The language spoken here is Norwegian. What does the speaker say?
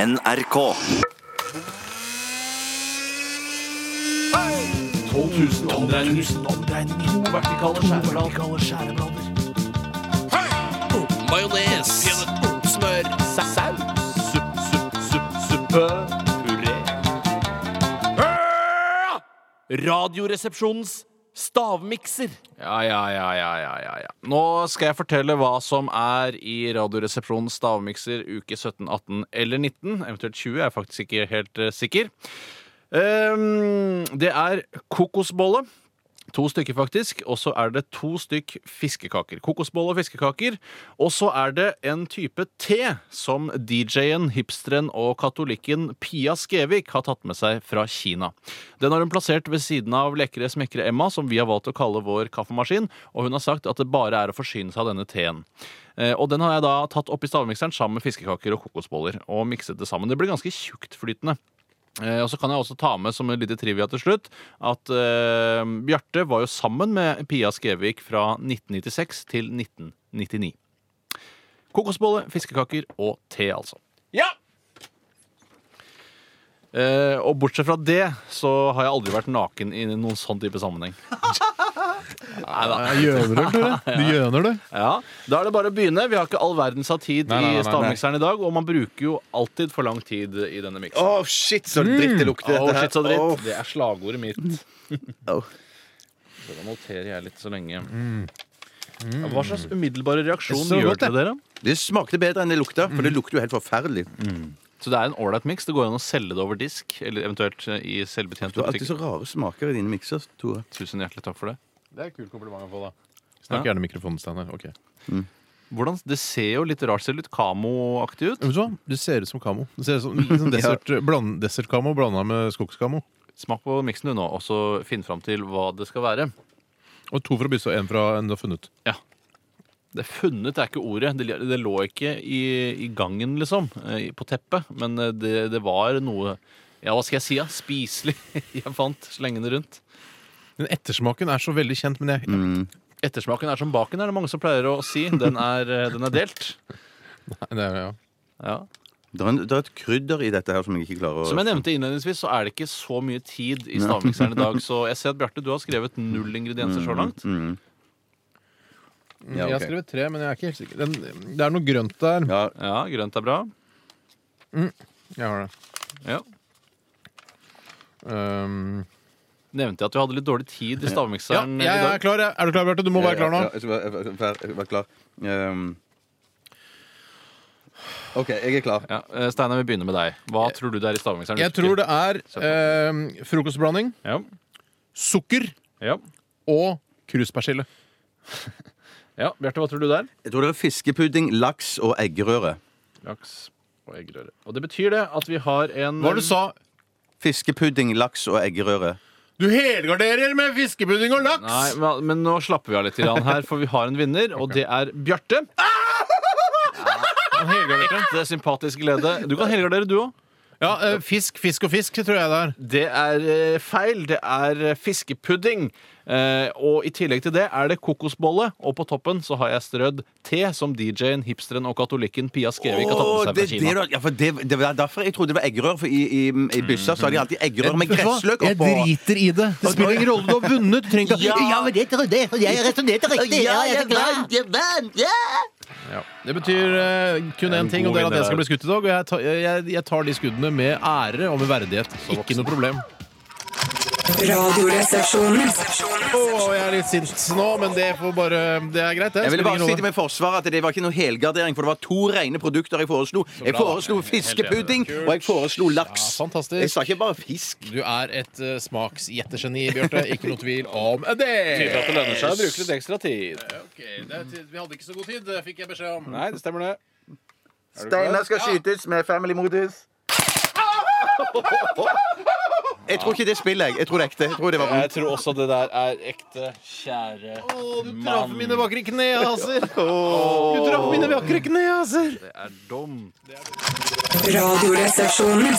NRK. 12 000 omdreininger. To vertikale skjæreblader. Majones. Smør. Saus. Supp, supp, supp, suppe. Puré. Radioresepsjonens stavmikser. Ja, ja, ja, ja, ja, ja, ja. Nå skal jeg fortelle hva som er i Radioresepsjonens stavmikser uke 17, 18 eller 19. Eventuelt 20, jeg er faktisk ikke helt eh, sikker. Ehm, det er kokosbolle. To stykker, faktisk. Og så er det to stykk fiskekaker. Kokosbolle og fiskekaker. Og så er det en type te som DJ-en, hipsteren og katolikken Pia Skevik har tatt med seg fra Kina. Den har hun plassert ved siden av lekre smekre Emma, som vi har valgt å kalle vår kaffemaskin, og hun har sagt at det bare er å forsyne seg av denne teen. Eh, Og den har jeg da tatt oppi stavmikseren sammen med fiskekaker og kokosboller, og mikset det sammen. Det blir ganske tjuktflytende. Eh, Og så kan jeg også ta med som en liten trivia til slutt at eh, Bjarte var jo sammen med Pia Skevik fra 1996 til 1999. Kokosbolle, fiskekaker og te, altså. Ja! Eh, og bortsett fra det så har jeg aldri vært naken i noen sånn type sammenheng. Jeg gjøner det. Du gjøner det. Ja, Da er det bare å begynne. Vi har ikke all verdens av tid Nei, nei, nei, i nei. stavmikseren i dag, og man bruker jo alltid for lang tid i denne miksen. Åh, shit, så dritt det lukter Åh, dette her. shit, så dritt. Åh, Det er slagordet mitt. Åh. Så Da noterer jeg litt så lenge. Ja, Hva slags umiddelbare reaksjon Det er så gjør godt, det dere? det smakte bedre enn det lukta, for det lukter jo helt forferdelig. Så det er en ålreit miks. Det går an å selge det over disk, eller eventuelt eh, i Du selvbetjente har alltid så butikker. rare smaker i dine mikser, Tore. Tusen hjertelig takk for det. Det er et kult kompliment å få, da. Ja. Snakk gjerne i mikrofonen, Steinar. Ok. Hvordan, det ser jo litt rart, ser litt kamoaktig ut. Vet du hva? Du ser ut som kamo. Du ser ut som liksom desert, bland, desertkamo blanda med skogskamo. Smak på miksen du nå, og så finn fram til hva det skal være. Og to fra bysse og én fra en du har funnet. Det er funnet er ikke ordet. Det, li- det lå ikke i, i gangen, liksom. eh, På teppet. Men eh, det, det var noe Ja, hva skal jeg si? Ja? Spiselig. Jeg fant slengende rundt. Den ettersmaken er så veldig kjent, men jeg Ettersmaken er som baken, er det mange som pleier å si. Den er, eh, den er delt. Nei, det er, ja. Ja. Det er, en, det er et krydder i dette her som jeg ikke klarer å Som jeg nevnte innledningsvis, så er det ikke så mye tid i stavmikseren i dag. Så jeg ser at Bjarte, du har skrevet null ingredienser så langt. Mm. Mm, Ja, Jeg har ok. skrevet tre, men jeg er ikke helt sikker. Den, det er noe grønt der. Ja, Ja, grønt er bra. Jeg har det. Ja. Um, Nevnte jeg at vi hadde litt dårlig tid i ja, stavmikseren jeg i er dag? klar. jeg. Er du klar, Bjarte? Du må være klar nå. Ja, jeg skal være, være- være, være klar. Ehm, OK, jeg er klar. Ja. eh, Steinar, vi begynner med deg. Hva tror du det er i stavmikseren? Jeg tror det er um, frokostblanding, Ja. sukker ja. og kruspersille. Ja, Bjarte, hva tror du det er? Jeg tror det er fiskepudding, laks og eggerøre. Laks og eggerøre. Og det betyr det at vi har en Hva var det du sa? Fiskepudding, laks og eggerøre. Du helgarderer med fiskepudding og laks! Nei, men- men nå slapper vi av litt grann her, for vi har en vinner, og det er Bjarte. Han helgarderte. Det er sympatisk glede. Du kan helgardere, du òg. Ja, eh, fisk, fisk og fisk, tror jeg det er. Det er eh, feil. Det er eh, fiskepudding. Eh, og i tillegg til det er det kokosbolle, og på toppen så har jeg strødd te, som DJ-en, hipsteren og katolikken Pia Skevik har tatt med Åh, seg det, fra det, Kina. da- ja, for det, det var derfor jeg trodde det var eggerøre. For i, i, i byssa så har de alltid eggerøre med Vet du hva? gressløk Jeg oppå. driter i det. Det spiller ingen rolle. Du har vunnet. Du trenger ikke Ja, men det trodde jeg, og jeg resonnerte riktig. Ja, jeg er så glad. Jeg vant, ja! Ja. Det betyr eh, kun én ting, og det er at jeg skal bli skutt i dag. Og jeg, tar- jeg, jeg tar de skuddene med ære og med verdighet. Ikke noe problem. Radioresepsjonen. Åh, jeg er litt sint nå, men det, får bare, det er greit, det. Jeg Spiller ville bare ingen si til rolle. med forsvaret at det var ikke noe helgardering, for det var to rene produkter jeg foreslo. Jeg foreslo fiskepudding, og jeg foreslo laks. Ja, fantastisk. Jeg sa ikke bare fisk. Du er et uh, smaksgjettergeni, Bjarte. Ikke noe tvil om det. Det lønner seg å bruke litt ekstra tid. vi hadde ikke så god tid, eh, fikk jeg beskjed om. Nei, det stemmer det. Steinar skal skytes med family modus. Jeg tror ikke det spiller, jeg. Jeg tror det er ekte. Jeg tror det var Jeg tror også det der er ekte, kjære Du traff mine vakre knehaser! Du traff mine vakre knehaser! Det er dum. Radioresepsjonen.